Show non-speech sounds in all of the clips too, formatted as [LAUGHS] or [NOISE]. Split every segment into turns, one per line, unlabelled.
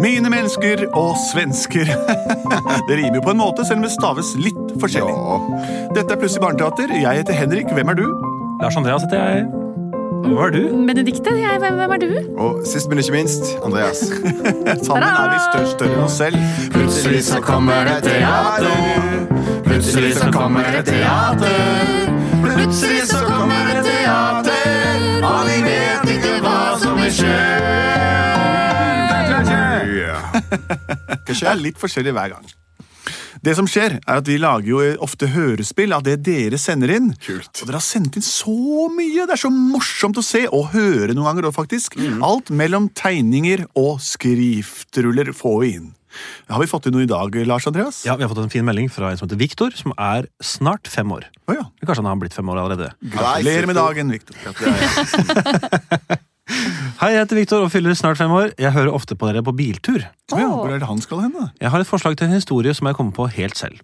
Mine mennesker og svensker. [LAUGHS] det rimer jo på en måte, selv om det staves litt forskjellig. Dette er Plutselig barneteater. Jeg heter Henrik. Hvem er du?
Lars Andreas heter jeg. Hva er du?
Benedikte, jeg, hvem, hvem er du?
Og sist, men ikke minst, Andreas.
[LAUGHS] Sammen er vi større, større enn oss selv.
Plutselig så kommer det teater. Plutselig så kommer det teater. Plutselig så kommer det teater. Og vi vet ikke hva som vil skje.
Det er litt forskjellig hver gang. Det som skjer, er at vi lager jo ofte hørespill av det dere sender inn.
Kult.
Og dere har sendt inn så mye! Det er så morsomt å se og høre noen ganger òg, faktisk. Alt mellom tegninger og skriftruller får vi inn. Har vi fått inn noe i dag, Lars Andreas?
Ja, Vi har fått en fin melding fra en som heter Viktor, som er snart fem år.
Å ja.
Kanskje han har blitt fem år allerede.
Gratulerer med dagen, Victor.
Hei, jeg heter Viktor og fyller snart fem år. Jeg hører ofte på dere på biltur.
Å ja, hvor er det han skal hen, da?
Jeg har et forslag til en historie som jeg kommer på helt selv.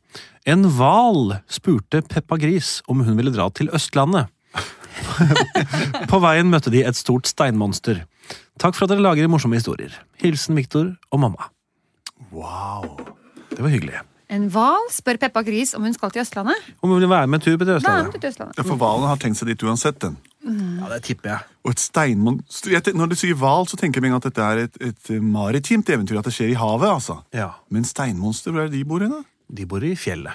En hval spurte Peppa Gris om hun ville dra til Østlandet. [LAUGHS] på veien møtte de et stort steinmonster. Takk for at dere lager morsomme historier. Hilsen Viktor og mamma.
Wow.
Det var hyggelig.
En hval spør Peppa Gris om hun skal til Østlandet.
Om hun vil være med en tur på til
Da er hun
Østlandet?
til Østlandet.
Ja, For hvalen har tenkt seg dit uansett, den.
Ja, det tipper jeg.
Og et steinmonster Jeg ten- Når du sier hval, så tenker jeg med en gang at dette er et, et maritimt eventyr, at det skjer i havet, altså.
Ja,
Men steinmonster, hvor er det de bor hen, da?
De bor i fjellet.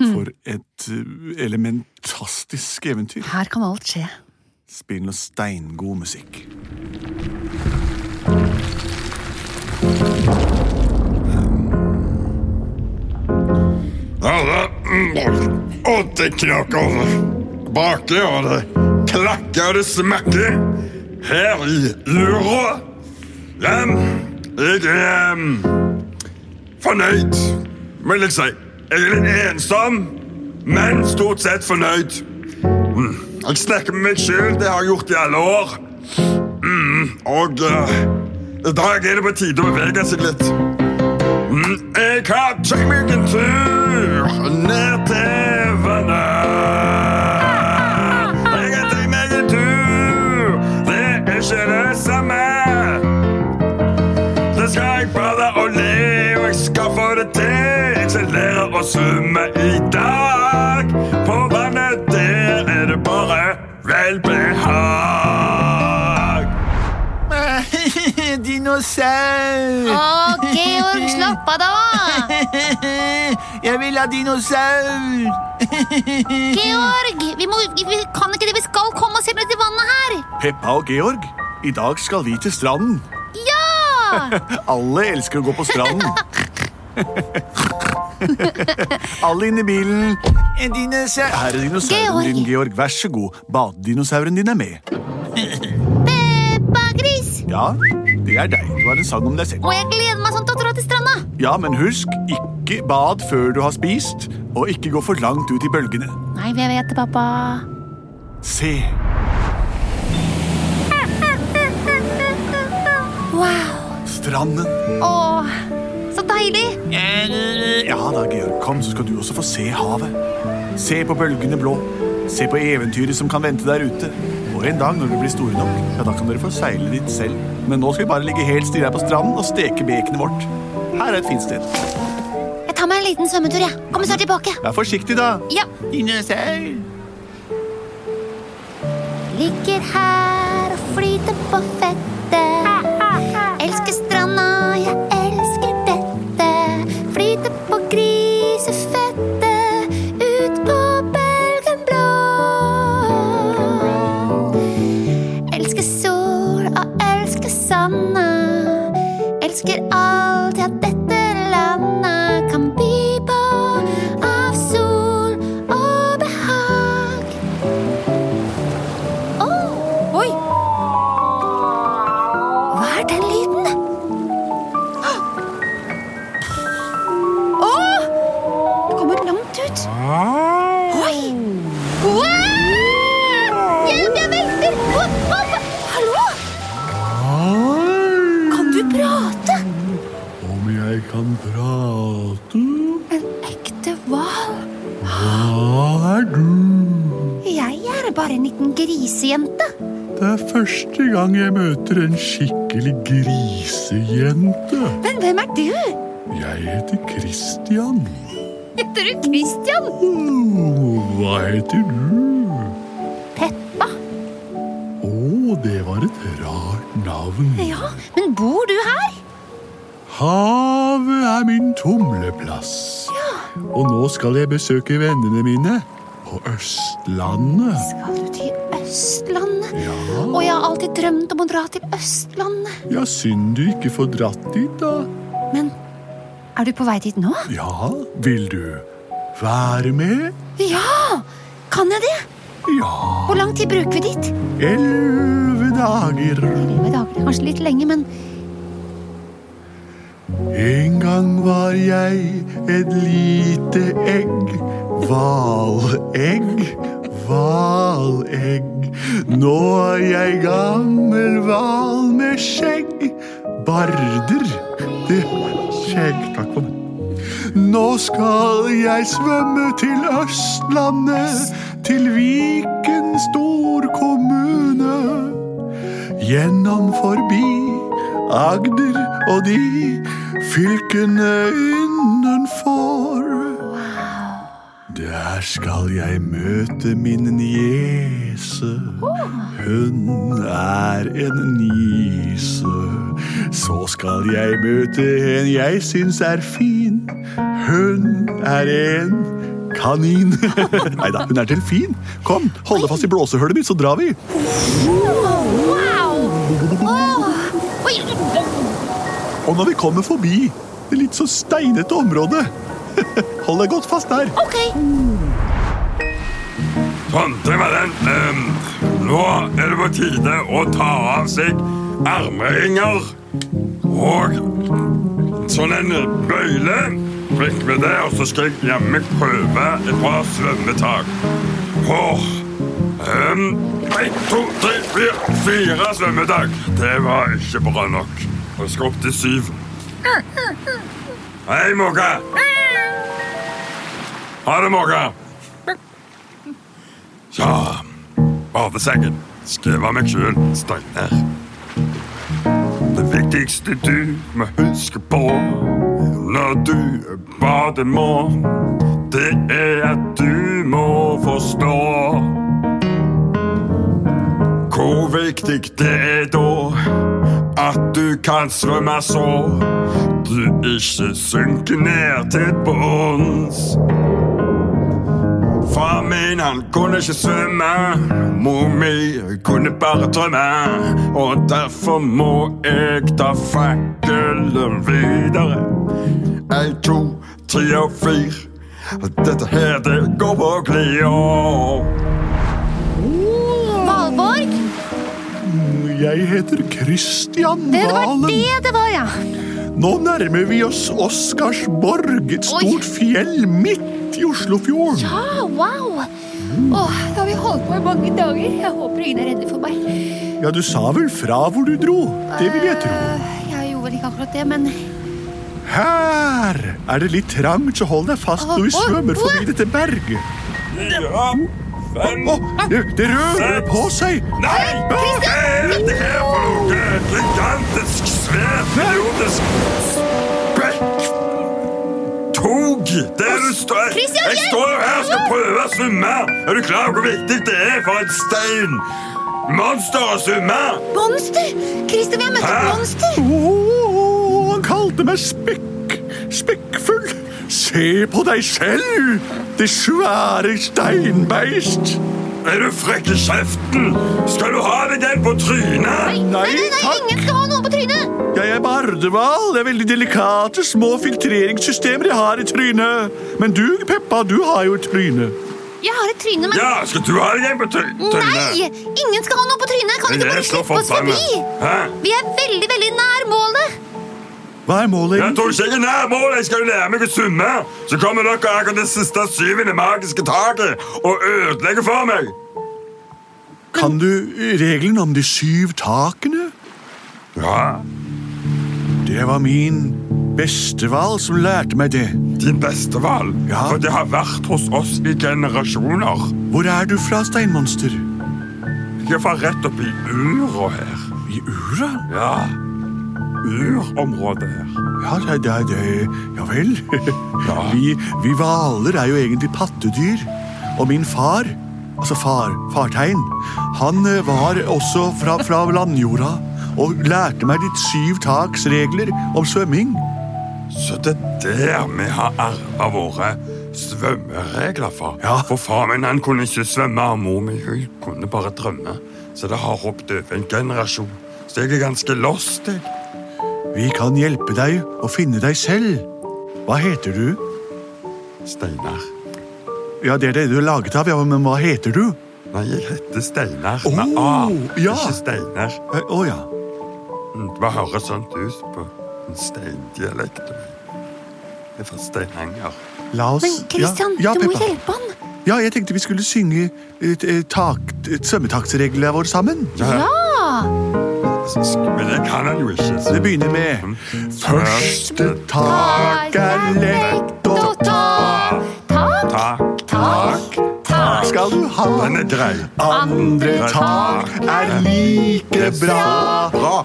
For et uh, elementastisk eventyr.
Her kan alt skje.
Spill noe steingod musikk.
Alle åtte knakker. Baki og det klakker og det smekker her i lura. Em, jeg er em, fornøyd, vil jeg si. Jeg er litt ensom, men stort sett fornøyd. Mm, Jeg snakker med meg sjøl, det har jeg gjort i alle år. Mm, og eh, i dag er det på tide å bevege seg litt. Jeg har tatt meg en tur ned til vannet. Jeg har tatt meg en tur, det er ikke det samme. Da skal jeg bade og le, og jeg skal få det til. Jeg skal lære å svømme i dag. På vannet der er det bare velbehag.
[LAUGHS] Dinosaur! [LAUGHS]
Å, Georg, slapp av, da!
Jeg vil ha dinosaur!
Georg! Vi, må, vi kan ikke det. Vi skal komme oss hjem til vannet her!
Peppa og Georg, i dag skal vi til stranden.
Ja!
Alle elsker å gå på
[LAUGHS]
stranden. Alle inn i bilen.
En dinosaur
Her er dinosauren
Georg.
din, Georg. Vær så god. Badedinosauren din er med.
Peppa Gris!
Ja, det er deg. Du har en sang om deg selv.
Og jeg gleder meg sånn til å dra til stranda.
Ja, men husk, ikke bad før du har spist, og ikke gå for langt ut i bølgene.
Nei, jeg vet det, pappa.
Se.
Wow.
Stranden.
Å, så deilig.
Ja da, Georg, kom, så skal du også få se havet. Se på bølgene blå. Se på eventyret som kan vente der ute. Og en dag når dere blir store nok, ja, da kan dere få seile dit selv. Men nå skal vi bare ligge helt stille her på stranden og steke bekenet vårt. Her er et fint sted.
Jeg tar meg en liten svømmetur, jeg. Kommer snart tilbake.
Vær forsiktig, da.
Ja.
Dinosaur!
Ligger her og flyter på fettet. Elsker stranda, jeg elsker dette. Flyter på grisefettet, ut på bølgen blå. Elsker sol og elsker sanda. Elsker alt, ja, dette landet kan by på av sol og behag. Åh, oi! Hva er den lyden? Åh! Det kommer langt ut. Oi! Wow! Hjelp, jeg velter! Åh, åh, hva- Hallo? Kan du prate?
Om jeg kan prate,
En ekte hval.
hva er du?
Jeg er bare en liten grisejente.
Det
Det er første gang jeg møter en skikkelig grisejente.
Men hvem er du?
Jeg heter Christian.
Heter du Christian?
Oh, hva heter du?
Peppa?
Å, det var et rart navn.
Ja, men bor du her?
Havet er min tumleplass. Og nå skal jeg besøke vennene mine på Østlandet.
Skal du til Østlandet?
Ja,
Og jeg har alltid drømt om å dra til Østlandet.
ja synd du ikke får dratt dit, da.
Men er du på vei dit nå?
Ja, vil du være med?
Ja! Kan jeg det?
Ja,
Hvor lang tid bruker vi dit?
elleve dager.
Elleve dager. det er Kanskje litt lenge, men
En gang var jeg et lite egg. Hvalegg, hvalegg. Nå er jeg gammel hval med skjegg. Barder. Det skjegg. Takk for meg. Nå skal jeg svømme til Østlandet, til Viken storkommune gjennom forbi Agder og de fylkene innenfor. Der skal jeg møte min niese. Hun er en nise. Så skal jeg møte en jeg syns er fin. Hun er en kanin. [LAUGHS] Nei da, hun er delfin. Kom, hold deg fast i blåsehullet mitt, så drar vi.
Wow! Åh! Oi!
Og når vi kommer forbi det litt så steinete området [LAUGHS] Hold deg godt fast der.
Ok.
Tante Maren, ehm, nå er det på tide å ta av seg armringer og sånn en bøyle. Vekk med det, og så skal jeg hjemme prøve et par svømmetak. Åh, ehm, en, to, tre, fire, fire svømmetak. Det var ikke bra nok. Og skal opp til syv. Hei, Måka. Ha det, Måka. Så, badesengen. Skriv av meg sjøl, Steinar. Det viktigste du må huske på når du bader må, det er at du må forstå hvor viktig det er da at du kan svømme så du ikke synker ned til bunns. Far min han kunne ikke svømme, mor mi kunne bare drømme. Og derfor må jeg ta fakkelen videre. Ei, to, tre og fire. Dette her, det går på glia.
Valborg?
Jeg heter Christian
Det var
Valen.
det det var, ja.
Nå nærmer vi oss Oscarsborg, et
Oi.
stort fjell midt i Oslofjorden.
Ah, wow!
Åh, da har vi holdt på i mange dager. Jeg håper ingen er redde for meg.
Ja, du sa vel fra hvor du dro? Det vil jeg tro.
Eh, Jeg gjorde vel ikke akkurat det, men
Her er det litt trangt, så hold deg fast når vi
Å, å,
svømmer
å.
forbi dette berget.
Ja, fem
Å,
Ah.
det, det rører på seg!
Nei! Hva er dette her for noe? Gigantisk, svært, idiotisk Tog! Det er du står
Christian,
Jeg
hjelp!
står jo her og skal prøve å svømme. Er du klar over hvor viktig det er for et stein? Monster å svømme!
Monster! Christer, vi har møtt et
Hæ?
monster!
Åh, han kalte meg spekk, spekkfull. Se på deg selv, det svære steinbeist.
Er du frekk i kjeften? Skal du ha deg den på trynet?
Nei,
nei, nei,
takk.
ingen skal ha noe på trynet!
Jeg er bardehval. Det er veldig delikate små filtreringssystemer jeg har i trynet. Men du, Peppa, du har jo et tryne.
Jeg har et tryne, men
Ja, skal du ha deg den på try-
Nei!
trynet?
Ingen skal ha noe på trynet! Kan du ikke bare
Jeg er så
slippe oss
forbannet.
forbi?
Hæ?
Vi er veldig, veldig nær målet!
Hva er målet?
Jeg tror ikke jeg er nær målet. Jeg skal jo lære meg å svømme. Så kommer dere her til det siste syvende magiske taket og ødelegger for meg.
Kan du regelen om de syv takene?
Ja,
Det var min bestehval som lærte meg det.
din beste val.
Ja.
For det har vært hos oss i generasjoner.
Hvor er du fra, steinmonster?
Jeg var rett oppi ura her.
I ura?
Ja. Urområdet her.
Ja, det, det, det, ja vel. [LAUGHS] Vi, vi hvaler er jo egentlig pattedyr. Og min far, altså far, fartegn, han eh, var også fra, fra landjorda og lærte meg ditt syv taks regler om svømming.
Så det er der vi har arva våre svømmeregler fra.
Ja.
For far min han kunne ikke svømme, og mor mi hun kunne bare drømme. Så det har hoppet over en generasjon. Så jeg er ganske lost, jeg.
Vi kan hjelpe deg å finne deg selv. Hva heter du?
Steinar.
Ja, det er det du er laget av, ja, men hva heter du?
Nei, jeg heter Steinar.
Oh,
Med A,
ja.
ikke Steinar. Mm,
Eh, Å ja.
Hva høres sånt ut på en steindialekt? Det er fra Steinanger.
La oss
Men Christian,
ja, ja,
du må
Peppa.
hjelpe han.
Ja, jeg tenkte vi skulle synge eh, t- eh, tak, t- svømmetaksreglene våre sammen.
Ja!
Men det kan han jo ikke.
Det begynner med
Mm.
Første tak er lett å ta.
Tak,
Tak,
tak, tak.
Skal du
den
ha
er grei.
andre tak er like bra.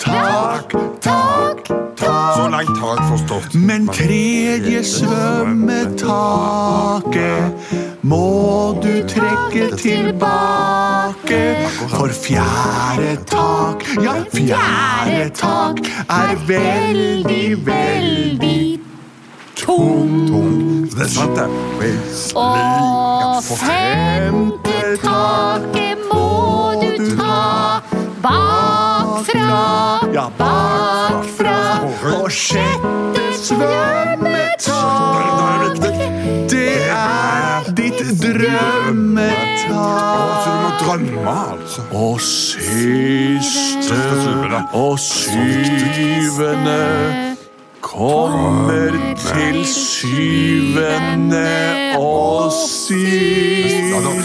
Tak, tak,
Så
tak.
langt har jeg forstått.
Men tredje svømmetaket må du trekke tilbake. For fjerde tak, ja, fjerde tak er veldig, veldig
Tung. Det er sant, det.
Og femte taket må du ta bakfra.
Ja, bakfra og sjette svømmetak.
Da er det viktig.
Det er ditt drømmetak.
Så du må drømme, altså.
Og siste og syvende kommer til syvende og sist.
Ja, da er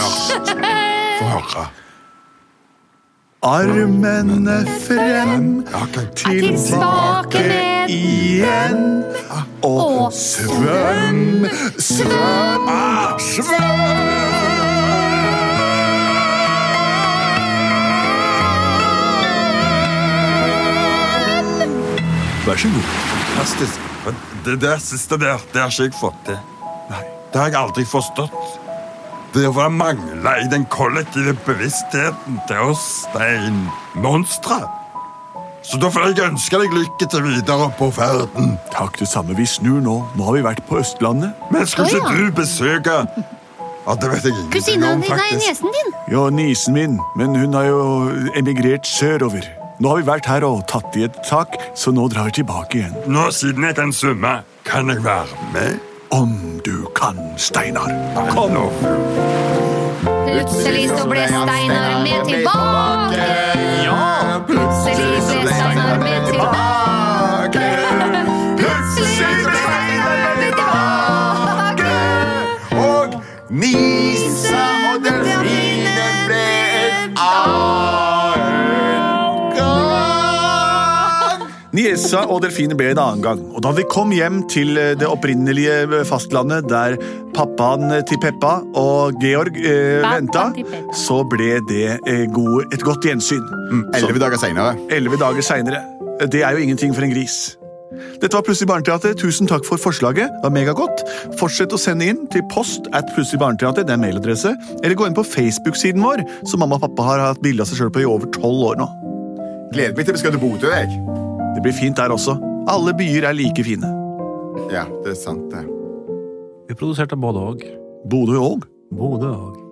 det Få høre.
Armene frem,
Ja, ok.
tilbake igjen. Og svøm, svøm, Vær så god.
Fantastisk. Men Det der siste der, det har ikke jeg fått til. Det har jeg aldri forstått. Det var mangla i den kollektive bevisstheten til oss steinmonstre. Så da får jeg ønske deg lykke til videre på ferden.
Takk, det samme. Vi snur nå. Nå har vi vært på Østlandet.
Men skal
Å,
ikke
ja.
du besøke Ja, det vet jeg ingenting
Kusina
om,
di, nei,
faktisk.
niesen din.
Ja, nisen min, men hun har jo emigrert sørover. Nå har vi vært her og tatt i et tak, så nå drar jeg tilbake igjen.
Nå siden jeg kan svømme, kan jeg være med?
Om du kan, Steinar.
Kom nå.
Plutselig så ble Steinar med tilbake.
Ja, plutselig så ble Steinar med tilbake. Plutselig ble Steinar med tilbake. Og Nisa og delfinen ble en annen gang.
Niesa og delfinen ble en annen gang. Og da vi kom hjem til eh, det opprinnelige eh, fastlandet, der pappaen eh, til Peppa og Georg eh,
Pappaen
venta,
til Peppa.
så ble det eh, god, et godt gjensyn.
Elleve dager seinere.
Elleve dager seinere. Det er jo ingenting for en gris. Dette var Plutselig barneteater. Tusen takk for forslaget. Det var megagodt. Fortsett å sende inn til post at Plutselig barneteater. Det er mailadresse. Eller gå inn på Facebook-siden vår, som mamma og pappa har hatt bilde av seg sjøl på i over tolv år nå.
Gleder meg til vi skal til Bodø, jeg.
Det blir fint der også. Alle byer er like fine.
Ja, det er sant, det.
Vi produserte både og.
Bodø òg.
Både og.